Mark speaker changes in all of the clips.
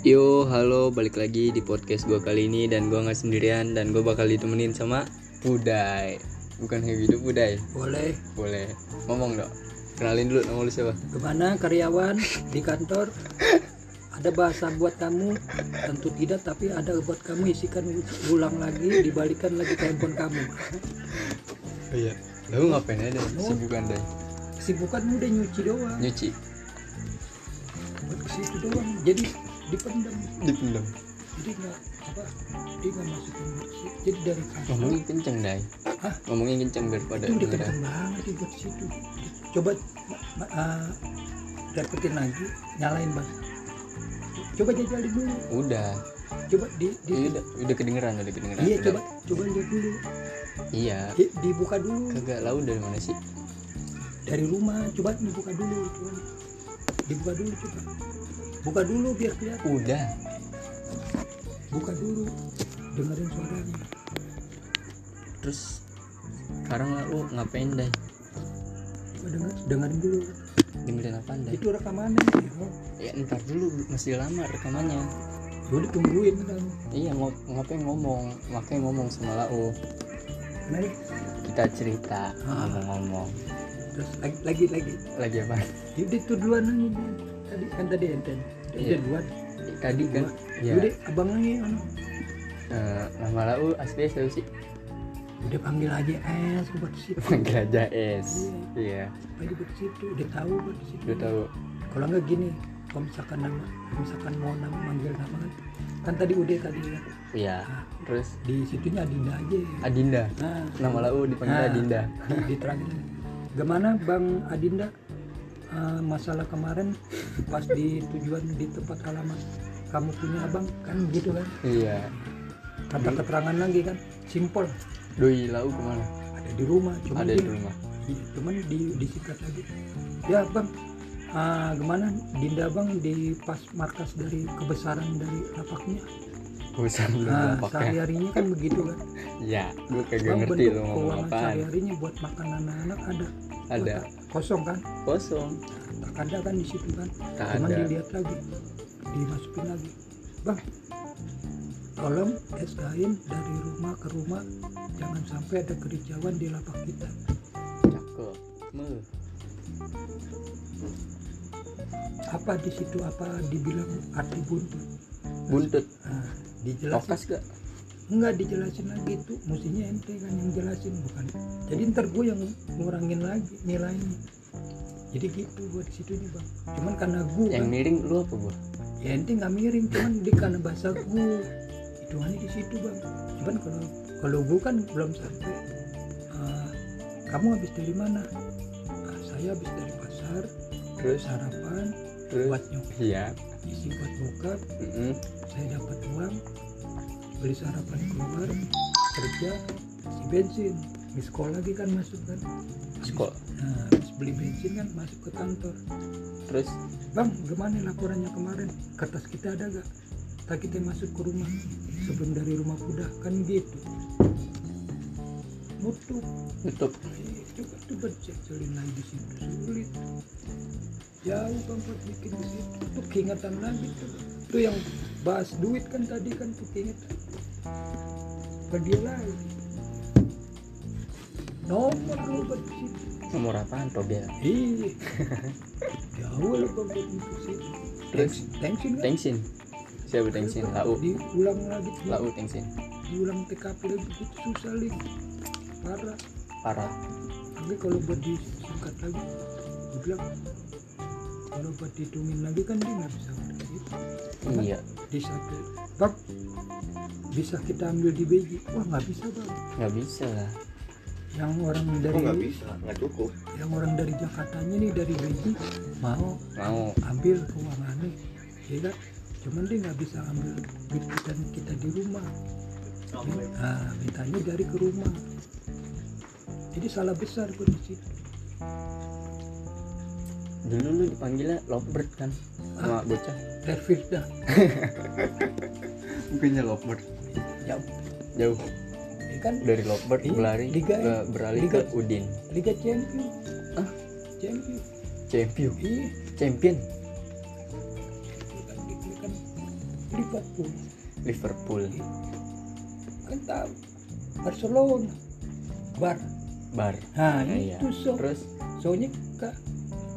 Speaker 1: Yo, halo, balik lagi di podcast gue kali ini dan gue nggak sendirian dan gue bakal ditemenin sama Budai. Bukan Heavy itu Budai.
Speaker 2: Boleh.
Speaker 1: Boleh. Ngomong dong. Kenalin dulu nama lu siapa?
Speaker 2: Kemana karyawan di kantor? Ada bahasa buat kamu? Tentu tidak, tapi ada buat kamu isikan ulang lagi, dibalikan lagi ke handphone kamu.
Speaker 1: Oh iya. Lu ngapain aja sibukan Dai?
Speaker 2: Kesibukan udah nyuci doang,
Speaker 1: Nyuci.
Speaker 2: buat ke situ doang. Jadi dipendam,
Speaker 1: Dipendam.
Speaker 2: jadi nggak apa, dia nggak masukin bersih. Jadi dari kantor
Speaker 1: Ngomongin kenceng Dai.
Speaker 2: Hah?
Speaker 1: Ngomongin kenceng daripada
Speaker 2: itu udah
Speaker 1: dengeran.
Speaker 2: kenceng banget di buat situ. Coba ma- ma- ah, dapetin lagi, nyalain bang. Coba jajalin dulu,
Speaker 1: Udah.
Speaker 2: coba di, di
Speaker 1: Iya, udah, udah kedengeran, udah kedengeran.
Speaker 2: Iya
Speaker 1: Udah.
Speaker 2: coba coba lihat dulu
Speaker 1: Iya.
Speaker 2: Di- dibuka dulu
Speaker 1: Kagak lau dari mana sih?
Speaker 2: dari rumah coba dibuka dulu coba dibuka dulu coba buka dulu biar kelihatan
Speaker 1: Udah.
Speaker 2: buka dulu dengerin suaranya
Speaker 1: Terus sekarang lu ngapain Dai?
Speaker 2: coba denger dengerin dulu
Speaker 1: Dengerin apaan Dai?
Speaker 2: itu rekamannya ya
Speaker 1: Ya ntar dulu masih lama rekamannya.
Speaker 2: udah tungguin kan
Speaker 1: Iya, ngop ngapain ngomong? Makanya ngomong sama Lau.
Speaker 2: Mari.
Speaker 1: Kita cerita,
Speaker 2: Ah.
Speaker 1: ngomong-ngomong.
Speaker 2: terus lagi lagi lagi
Speaker 1: Lagi apa?
Speaker 2: jadi itu duluan aja Din. tadi kan tadi enten tadi
Speaker 1: Iya.
Speaker 2: duluan
Speaker 1: Tadi kan, ya,
Speaker 2: udah abang lagi kan
Speaker 1: eh, nama Lau aslinya siapa sih?
Speaker 2: udah panggil aja es buat situ
Speaker 1: Panggil aja S. Iya,
Speaker 2: aja buat situ udah tahu buat situ
Speaker 1: udah tahu.
Speaker 2: kalau nggak gini kalau misalkan nama kalau misalkan mau nama manggil nama kan kan tadi udah tadi ya
Speaker 1: Iya.
Speaker 2: Nah,
Speaker 1: Terus
Speaker 2: di situnya Adinda aja
Speaker 1: Adinda.
Speaker 2: nah
Speaker 1: Nama Lau dipanggil
Speaker 2: Ah.
Speaker 1: Adinda.
Speaker 2: di, di terakhir lagi. gimana Bang Adinda Eh, masalah kemarin pas di tujuan di tempat halaman kamu punya abang kan gitu kan
Speaker 1: Iya.
Speaker 2: kata keterangan lagi kan simpel
Speaker 1: Doi Lau kemana?
Speaker 2: ada di rumah cuman
Speaker 1: Ada
Speaker 2: dia-
Speaker 1: di rumah.
Speaker 2: Iya, cuman di disikat lagi ya bang ah, gimana dinda bang di pas markas dari kebesaran dari lapaknya
Speaker 1: Bosan lu
Speaker 2: nah,
Speaker 1: nampaknya.
Speaker 2: sehari harinya kan begitu kan
Speaker 1: Iya, gue kagak
Speaker 2: bang
Speaker 1: ngerti
Speaker 2: bentuk
Speaker 1: lu ngomong
Speaker 2: keuangan
Speaker 1: apaan.
Speaker 2: sehari harinya buat makan anak-anak ada
Speaker 1: Ada
Speaker 2: kosong kan
Speaker 1: kosong.
Speaker 2: tak ada kan di situ kan
Speaker 1: Tak
Speaker 2: cuman
Speaker 1: ada.
Speaker 2: dilihat lagi dimasukin lagi bang tolong SKN dari rumah ke rumah jangan sampai ada kericauan di lapak kita
Speaker 1: Cakep. Meh.
Speaker 2: apa di situ apa dibilang arti buntu
Speaker 1: Buntut.
Speaker 2: Nah, dijelasin
Speaker 1: Lokas gak?
Speaker 2: enggak dijelasin lagi itu mestinya ente kan yang jelasin bukan jadi ntar gue yang ngurangin lagi nilainya jadi gitu buat situ nih bang cuman karena gue
Speaker 1: Yang miring lu apa gua?
Speaker 2: ya ente nggak miring cuman di karena bahasa gue hitungannya di situ bang cuman kalau kalau gue kan belum sampai "Ah, kamu habis dari mana "Ah, saya habis dari pasar
Speaker 1: Terus
Speaker 2: sarapan
Speaker 1: terus
Speaker 2: buat nyokap
Speaker 1: iya.
Speaker 2: isi buat bokap
Speaker 1: Mm-mm.
Speaker 2: saya dapat uang beli sarapan keluar kerja isi bensin miskol lagi kan masuk kan Habis-
Speaker 1: Miskol.
Speaker 2: nah habis beli bensin kan masuk ke kantor
Speaker 1: Terus
Speaker 2: bang gimana laporannya kemarin kertas kita ada gak tak kita masuk ke rumah sebelum dari rumah kuda kan gitu nutup
Speaker 1: tutup
Speaker 2: Eh, coba coba cek celin lagi di situ sulit jauh kan buat bikin di situ tuh keingetan lagi tuh itu yang bahas duit kan tadi kan tuh keingetan ke dia lagi nomor lu buat di situ
Speaker 1: nomor apaan Tobel? Iya.
Speaker 2: ih jauh lu kan buat di situ
Speaker 1: Terus?
Speaker 2: tensin kan
Speaker 1: Tengsin. Siapa Tengsin? Lau.
Speaker 2: diulang lagi tuh.
Speaker 1: Lau Tengsin.
Speaker 2: diulang TKP lagi gitu susah lagi parah
Speaker 1: Parah.
Speaker 2: tapi kalau buat disingkat lagi gue bilang kalau buat dihitungin lagi kan dia nggak bisa ngerti gitu.
Speaker 1: Iya.
Speaker 2: di satu bab bisa kita ambil di beji wah nggak bisa bang
Speaker 1: Nggak bisa lah.
Speaker 2: yang orang dari
Speaker 3: Kok nggak bisa, nggak cukup.
Speaker 2: yang orang dari Jakartanya nih dari beji mau
Speaker 1: Mau.
Speaker 2: ambil keuangannya ya kan cuman dia nggak bisa ambil duit kita, kita di rumah
Speaker 3: Oh,
Speaker 2: nah mintanya dari ke rumah jadi salah besar gue di situ
Speaker 1: Dulu lu dipanggilnya Lovebird kan? Sama bocah.
Speaker 2: Terfirda
Speaker 3: Bukannya lovebird.
Speaker 2: jauh
Speaker 1: Jauh
Speaker 2: ya kan
Speaker 1: dari Lovebird
Speaker 2: Iya,
Speaker 1: berlari
Speaker 2: Liga.
Speaker 1: ke- beralih ke Udin.
Speaker 2: Liga Champion Ah,
Speaker 1: Hah?
Speaker 2: Champion
Speaker 1: Champion.
Speaker 2: iya
Speaker 1: Champion.
Speaker 2: ini kan, ini kan Liverpool
Speaker 1: Liverpool
Speaker 2: kan tahu Barcelona Bar
Speaker 1: Bar
Speaker 2: nah
Speaker 1: Iya.
Speaker 2: itu so
Speaker 1: terus
Speaker 2: soalnya kak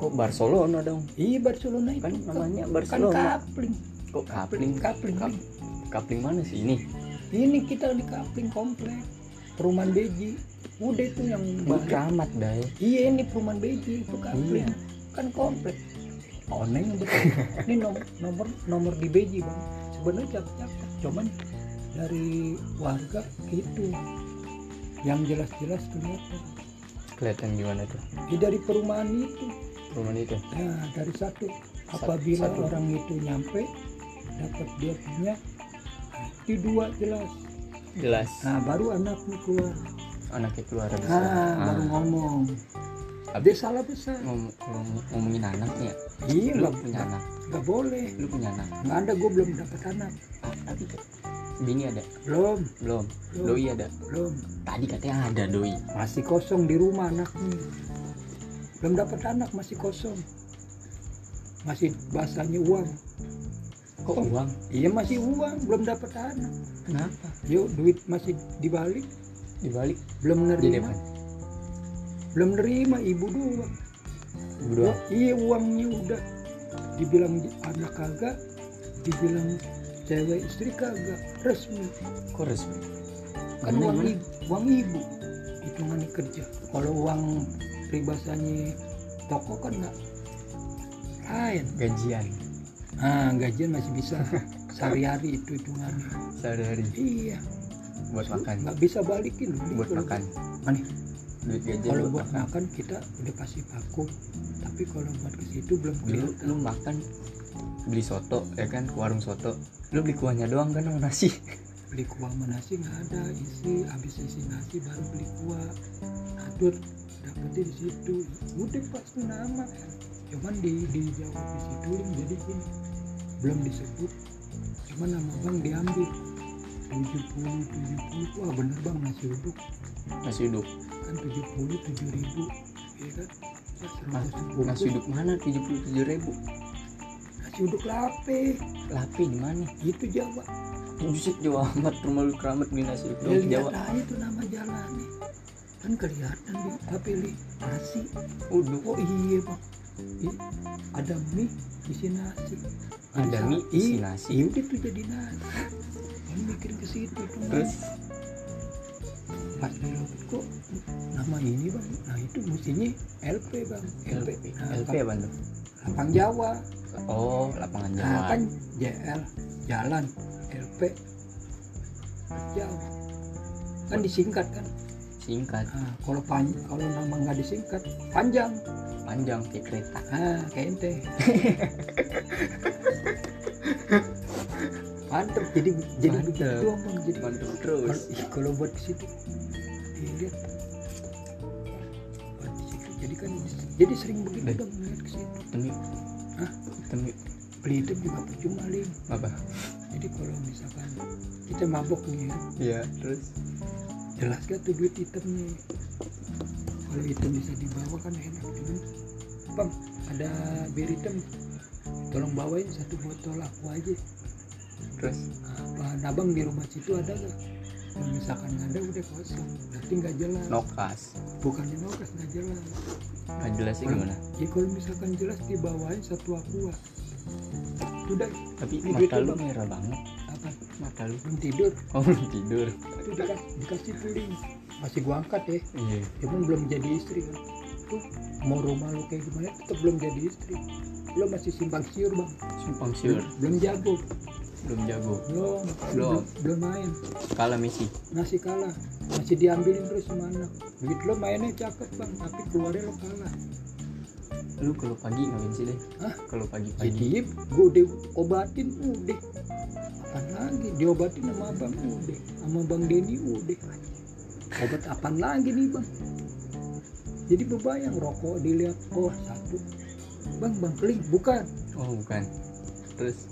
Speaker 1: kok Barcelona dong
Speaker 2: iya Barcelona itu
Speaker 1: kan
Speaker 2: Kak.
Speaker 1: namanya
Speaker 2: kan
Speaker 1: Barcelona
Speaker 2: kapling
Speaker 1: kok kapling
Speaker 2: kapling
Speaker 1: Kap- kapling mana sih ini
Speaker 2: ini kita di kapling komplek perumahan beji udah itu yang
Speaker 1: ini
Speaker 2: balik
Speaker 1: keramat dai
Speaker 2: Iya ini perumahan beji itu
Speaker 1: Iya.
Speaker 2: kapling kan komplek. Oneng betul. ini nom- nomor nomor di beji bang. Sebenarnya cakep-cakep, cuman dari warga gitu. Yang jelas-jelas kelihatan.
Speaker 1: kelihatan gimana tuh
Speaker 2: Di dari perumahan itu.
Speaker 1: rumah itu
Speaker 2: Nah dari satu apabila
Speaker 1: satu.
Speaker 2: orang itu nyampe dapat dia punya di dua jelas.
Speaker 1: jelas
Speaker 2: Nah baru anaknya keluar.
Speaker 1: Ah. anaknya keluar habis
Speaker 2: Nah,
Speaker 1: itu. Ah.
Speaker 2: baru ngomong. Dia
Speaker 1: habis
Speaker 2: salah besar.
Speaker 1: ngom- ngom- ngomongin anaknya
Speaker 2: Iya
Speaker 1: lu
Speaker 2: nggak-
Speaker 1: punya anak
Speaker 2: nggak boleh.
Speaker 1: lu punya anak
Speaker 2: Nggak ada gue belum dapat anak.
Speaker 1: Ah, tapi bini ada
Speaker 2: Belum.
Speaker 1: belum
Speaker 2: Belum.
Speaker 1: doi ada
Speaker 2: belum
Speaker 1: tadi katanya ada doi
Speaker 2: masih kosong di rumah
Speaker 1: Hmm.
Speaker 2: anaknya belum dapat anak masih kosong masih bahasanya uang
Speaker 1: kok uang
Speaker 2: iya masih uang belum dapat anak
Speaker 1: kenapa
Speaker 2: yuk duit masih dibalik
Speaker 1: dibalik
Speaker 2: belum
Speaker 1: jadi
Speaker 2: nerima
Speaker 1: apa
Speaker 2: belum nerima ibu doang
Speaker 1: berdua
Speaker 2: iya uangnya udah dibilang anak kagak dibilang cewek istri kagak resmi
Speaker 1: kok resmi
Speaker 2: kan
Speaker 1: Gimana,
Speaker 2: uang
Speaker 1: gimana?
Speaker 2: ibu, uang ibu hitungannya kerja kalau uang pribasannya toko kan nggak lain
Speaker 1: gajian
Speaker 2: ah gajian masih bisa sehari-hari itu hitungannya
Speaker 1: sehari-hari
Speaker 2: iya
Speaker 1: buat makan
Speaker 2: nggak bisa balikin loh ini
Speaker 1: buat
Speaker 2: kalau-
Speaker 1: makan
Speaker 2: Mana?
Speaker 1: duit gajian
Speaker 2: kalau Iya, buat makan kita udah kasih vakum tapi kalau buat ke situ belum
Speaker 1: lu,
Speaker 2: kelihatan
Speaker 1: lu makan beli soto ya kan ke warung soto lu beli kuahnya doang kan sama nasi
Speaker 2: beli kuah sama nasi nggak ada isi habis isi nasi baru beli kuah atur dapetin di situ udah pasti nama cuman di dijawab di situ Lim. jadi gini belum disebut cuman nama bang diambil 70 70 wah bener bang nasi uduk
Speaker 1: nasi uduk
Speaker 2: kan 70 7 ribu iya kan
Speaker 1: Mas,
Speaker 2: nasi,
Speaker 1: nasi uduk mana tujuh puluh tujuh ribu
Speaker 2: nasi uduk lape
Speaker 1: lapi di mana
Speaker 2: itu jawa
Speaker 1: Buset jauh amat rumah lu keramat beli nasi uduk
Speaker 2: ya,
Speaker 1: doang
Speaker 2: lihat
Speaker 1: Jawa
Speaker 2: aja itu nama jalan nih kan kelihatan Lim. tapi li nasi
Speaker 1: uduk
Speaker 2: Oh iya bang, I- ada mie isi nasi.
Speaker 1: ada
Speaker 2: Bisa.
Speaker 1: mie isi nasi
Speaker 2: Iya udah tuh jadi nasi. Kamu mikirin ke situ tuh.
Speaker 1: terus
Speaker 2: pas dilobet kok nama ini bang, nah itu mestinya LP bang, LP, Nah,
Speaker 1: LP
Speaker 2: lapang-
Speaker 1: apa tuh
Speaker 2: lapang Jawa.
Speaker 1: oh lapangan
Speaker 2: Nah
Speaker 1: Jawa
Speaker 2: kan JL jalan LP Jawa kan disingkat kan.
Speaker 1: singkat
Speaker 2: Nah, kalau pan kalau nama nggak disingkat panjang.
Speaker 1: panjang kayak kereta
Speaker 2: Ah, kayak ente. Mantep, jadi jadi
Speaker 1: Mantep.
Speaker 2: begitu Bang. jadi
Speaker 1: mantep terus
Speaker 2: Kalau- ih, Kalau buat di situ, dilihat buat di situ. Jadi kan, jadi sering begitu
Speaker 1: Eh.
Speaker 2: dong melihat ke situ.
Speaker 1: ketemu yuk.
Speaker 2: Hah?
Speaker 1: ketemu yuk.
Speaker 2: Beli itu juga percuma lim.
Speaker 1: apa
Speaker 2: Jadi kalau misalkan kita mabok nih, ya,
Speaker 1: iya terus
Speaker 2: jelas gak tuh duit hitamnya. Kalau hitam bisa dibawa kan enak, cuman bang ada bir hitam, tolong bawain satu botol aku aja.
Speaker 1: terus
Speaker 2: Nah, bahan abang di rumah situ ada nggak? Kalau misalkan nggak ada udah kosong, berarti nggak jelas.
Speaker 1: nokas
Speaker 2: Bukannya nokas nggak jelas.
Speaker 1: nggak jelas sih gimana
Speaker 2: Ya kalau misalkan jelas dibawain satu aqua. Udah
Speaker 1: tapi
Speaker 2: Ini
Speaker 1: mata
Speaker 2: duitnya,
Speaker 1: lu
Speaker 2: Bang.
Speaker 1: merah banget
Speaker 2: apa?
Speaker 1: mata lu
Speaker 2: Belum tidur,
Speaker 1: oh belum tidur
Speaker 2: itu dikas- dikasih piring. Masih gua angkat ya,
Speaker 1: iya
Speaker 2: cuman belum jadi istri kan. Tuh, mau rumah lu kayak gimana tetap belum jadi istri. Lo masih simpang siur bang,
Speaker 1: simpang siur
Speaker 2: belum jago,
Speaker 1: belum jago
Speaker 2: belum,
Speaker 1: Belum.
Speaker 2: belum main.
Speaker 1: kalah Messi
Speaker 2: masih kalah masih diambilin terus sama anak duit lo mainnya cakep bang tapi keluarnya lo kalah
Speaker 1: lu kalau pagi ngapain sih deh
Speaker 2: Hah?
Speaker 1: kalau pagi-pagi
Speaker 2: jadi gue udah obatin udah apaan lagi diobatin sama abang udah sama bang Denny udah obat apaan lagi nih bang jadi bebayang rokok dilihat oh satu bang bang keling bukan
Speaker 1: oh bukan terus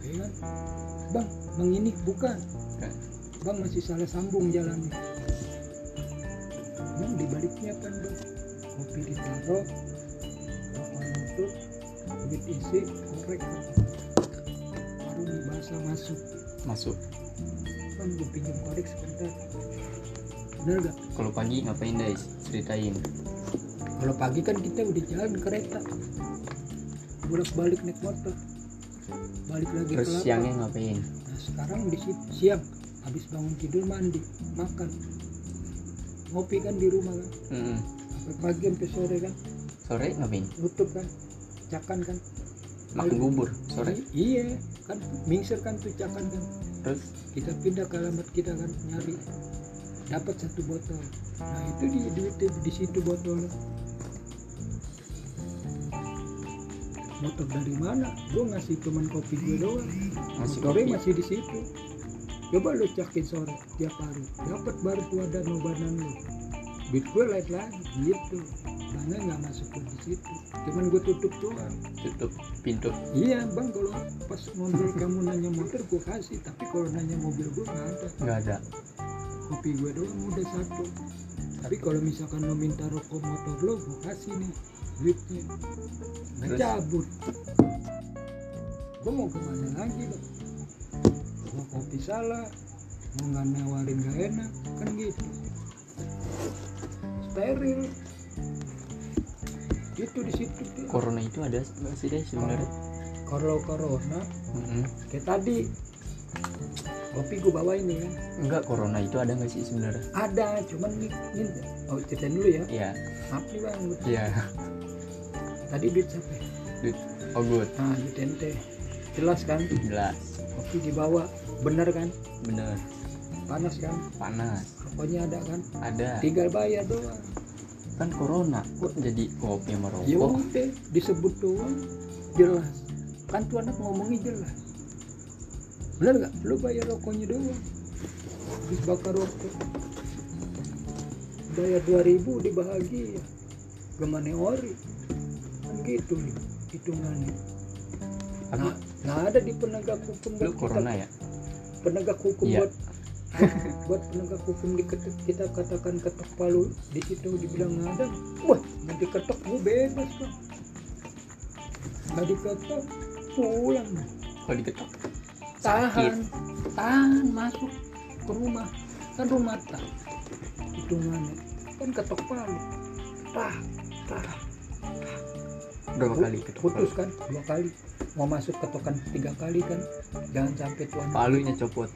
Speaker 2: Ya kan? bang bang ini bukan
Speaker 1: Bukan.
Speaker 2: bang masih salah sambung jalannya bang dibaliknya kan bang kopi ditaruh rokok nutup duit isi korek warung baru nih bahasa masuk
Speaker 1: masuk
Speaker 2: kan gue pinjam korek sebentar bener gak
Speaker 1: kalau pagi ngapain guys ceritain
Speaker 2: kalau pagi kan kita udah jalan kereta bolak balik naik motor balik lagi
Speaker 1: terus
Speaker 2: ke lapang.
Speaker 1: siangnya ngapain
Speaker 2: nah sekarang di situ siang habis bangun tidur mandi makan ngopi kan di rumah kan
Speaker 1: Mm-mm.
Speaker 2: sampai pagi sampai sore kan
Speaker 1: sore ngapain
Speaker 2: nutup kan cakan kan
Speaker 1: makan bubur sore
Speaker 2: iya kan mingser kan tuh cakan kan
Speaker 1: terus
Speaker 2: kita pindah ke alamat kita kan nyari dapat satu botol nah itu di duit di, di situ botolnya motor dari mana gue ngasih cuman kopi gue doang
Speaker 1: Ngasih
Speaker 2: motornya
Speaker 1: kopi?
Speaker 2: masih di situ coba lu cakin sore tiap hari dapat baru tua dan nobanan lu duit gue lain lagi gitu karena nggak masuk ke di situ cuman gue tutup doang
Speaker 1: tutup pintu
Speaker 2: iya bang kalau pas ngobrol kamu nanya motor gue kasih tapi kalau nanya mobil gue nggak ada
Speaker 1: nggak ada
Speaker 2: kopi gue doang udah satu tapi kalau misalkan lo minta rokok motor lo gue kasih nih duitnya Nah,
Speaker 1: Terus?
Speaker 2: cabut gue mau kemana lagi lo mau kopi salah mau nggak nawarin gak enak kan gitu steril itu di situ tuh.
Speaker 1: corona itu ada nggak sih guys sebenarnya
Speaker 2: kalau corona
Speaker 1: Oh. Mm-mm.
Speaker 2: kayak tadi kopi gue bawa ini ya
Speaker 1: Enggak, corona itu ada nggak sih sebenarnya?
Speaker 2: ada cuman nih ini oh ceritain dulu ya
Speaker 1: Iya,
Speaker 2: maaf nih bang gua-
Speaker 1: iya.
Speaker 2: tadi duit siapa ya?
Speaker 1: Duit, oh good,
Speaker 2: nah duit ente jelas kan
Speaker 1: jelas,
Speaker 2: kopi dibawa bener kan
Speaker 1: bener,
Speaker 2: panas kan
Speaker 1: panas,
Speaker 2: rokoknya ada kan
Speaker 1: ada.
Speaker 2: tinggal bayar doang
Speaker 1: Kan corona, kok jadi kopi sama
Speaker 2: ya
Speaker 1: rokok?
Speaker 2: udah disebut doang jelas kan tuh anak ngomongnya jelas bener gak lu bayar rokoknya doang habis bakar rokok bayar 2000 dibahagi ya gimana ori kan gitu nih hitungannya
Speaker 1: Tapi
Speaker 2: Nah, nggak ada di penegak hukum
Speaker 1: lu
Speaker 2: buat kita-
Speaker 1: corona ya?
Speaker 2: penegak hukum
Speaker 1: Iya.
Speaker 2: buat buat penegak hukum diketuk kita katakan ketok palu di situ dibilang nggak ada wah nggak diketok gue bebas bang nggak diketok pulang
Speaker 1: Kalau diketok,
Speaker 2: tahan tahan masuk ke rumah kan rumah tak hitungannya kan ketok palu tah tah
Speaker 1: berapa kali ketok?
Speaker 2: putus kan dua kali mau masuk ketokan tiga kali kan jangan sampai tuan
Speaker 1: Palunya copot.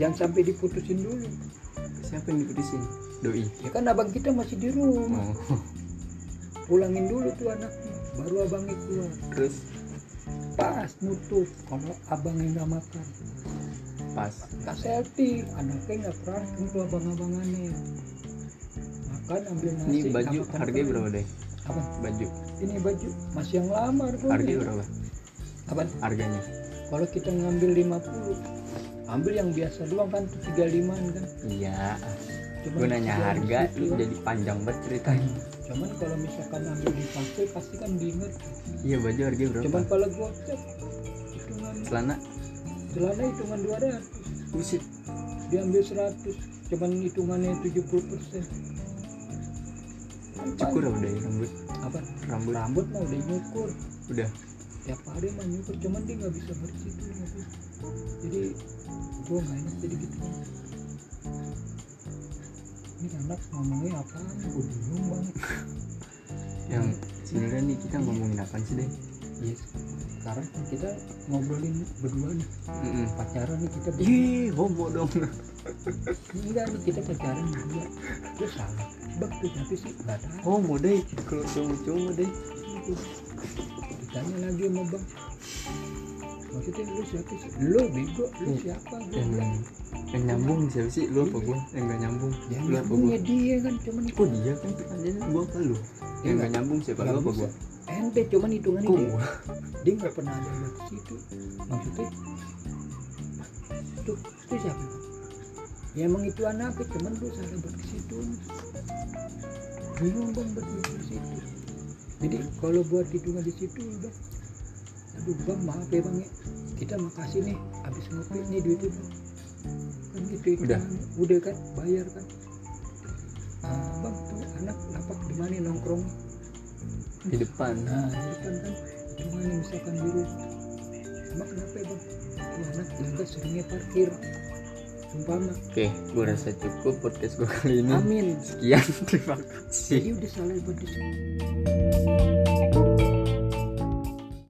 Speaker 2: jangan sampai diputusin dulu
Speaker 1: Siapa yang diputusin? Doi.
Speaker 2: ya kan abang kita masih di rumah
Speaker 1: Oh,
Speaker 2: pulangin dulu tuh anaknya baru abangnya keluar
Speaker 1: terus
Speaker 2: pas nutup kalau abangnya nggak makan
Speaker 1: pas.
Speaker 2: nggak healthy anaknya nggak perhatiin tuh abang-abangannya makan ambil nasi
Speaker 1: Ini baju
Speaker 2: nggak makan
Speaker 1: harganya
Speaker 2: perhatiin.
Speaker 1: berapa deh?
Speaker 2: Apa?
Speaker 1: Baju
Speaker 2: ini baju masih yang lama harganya
Speaker 1: harganya berapa?
Speaker 2: Apa?
Speaker 1: Harganya?
Speaker 2: kalau kita ngambil 50 ambil yang biasa doang kan tuh 35 -an kan
Speaker 1: Iya.
Speaker 2: Cuman
Speaker 1: Gue nanya
Speaker 2: tiga ratus
Speaker 1: harga,
Speaker 2: gitu
Speaker 1: lu
Speaker 2: kan.
Speaker 1: jadi panjang banget ceritanya.
Speaker 2: cuman kalau misalkan ambil dipakai pasti kan diinget
Speaker 1: Iya baju harganya berapa?
Speaker 2: cuman kalau gocap hitungan
Speaker 1: Celana?
Speaker 2: celana hitungan 200
Speaker 1: Buset.
Speaker 2: diambil 100 cuman hitungannya 70 persen
Speaker 1: Cukur apa deh rambut?
Speaker 2: apa
Speaker 1: Rambut
Speaker 2: rambut mah udah nyukur
Speaker 1: udah
Speaker 2: tiap hari mah nyukur cuman dia nggak bisa bersih tuh rambut. jadi gua nggak enak jadi gitu ini anak ngomongnya apa gue bingung banget
Speaker 1: yang sebenarnya nih kita ngomongin apa sih deh
Speaker 2: yes sekarang kan kita ngobrolin berdua nih
Speaker 1: mm
Speaker 2: pacaran nih kita berdua
Speaker 1: Ih, homo dong.
Speaker 2: Iya. enggak nih kita pacaran berdua gue salah bak tuh tapi sih nggak tahu
Speaker 1: Homo deh, kalau cowok-cowok deh.
Speaker 2: ditanya lagi sama bang maksudnya lu siapa sih lu bego lu
Speaker 1: Iya.
Speaker 2: siapa gue
Speaker 1: Yang yang nyambung siapa sih? Lu apa gua? Yang gak nyambung. ya,
Speaker 2: yang
Speaker 1: lu apa gua?
Speaker 2: punya dia kan cuman
Speaker 1: Kok dia kan pertanyaannya gua apa lu? Yang
Speaker 2: Iya.
Speaker 1: gak nyambung siapa lu
Speaker 2: Nggak
Speaker 1: apa
Speaker 2: bisa.
Speaker 1: gua?
Speaker 2: ente cuman hitungannya
Speaker 1: Kok
Speaker 2: dia
Speaker 1: gua?
Speaker 2: dia nggak pernah ada di situ maksudnya tuh itu siapa ya emang itu anaknya cuman lu salah buat ke situ bingung bang buat ke situ jadi kalau buat hitungan di situ udah aduh bang maaf ya bang ya kita makasih nih habis ngopi nih duit itu kan gitu
Speaker 1: Udah.
Speaker 2: hitungannya. udah kan bayar kan Ah, bang tuh anak lapak di mana nongkrong
Speaker 1: Di depan.
Speaker 2: Nah, itu kan kan cuma yang misalkan dulu emang kenapa ya bang ya anak kita seringnya parkir umpama
Speaker 1: Oke, gue rasa cukup podcast gue kali ini.
Speaker 2: amin Iya,
Speaker 1: Sekian, terima kasih.
Speaker 2: jadi udah salah buat di-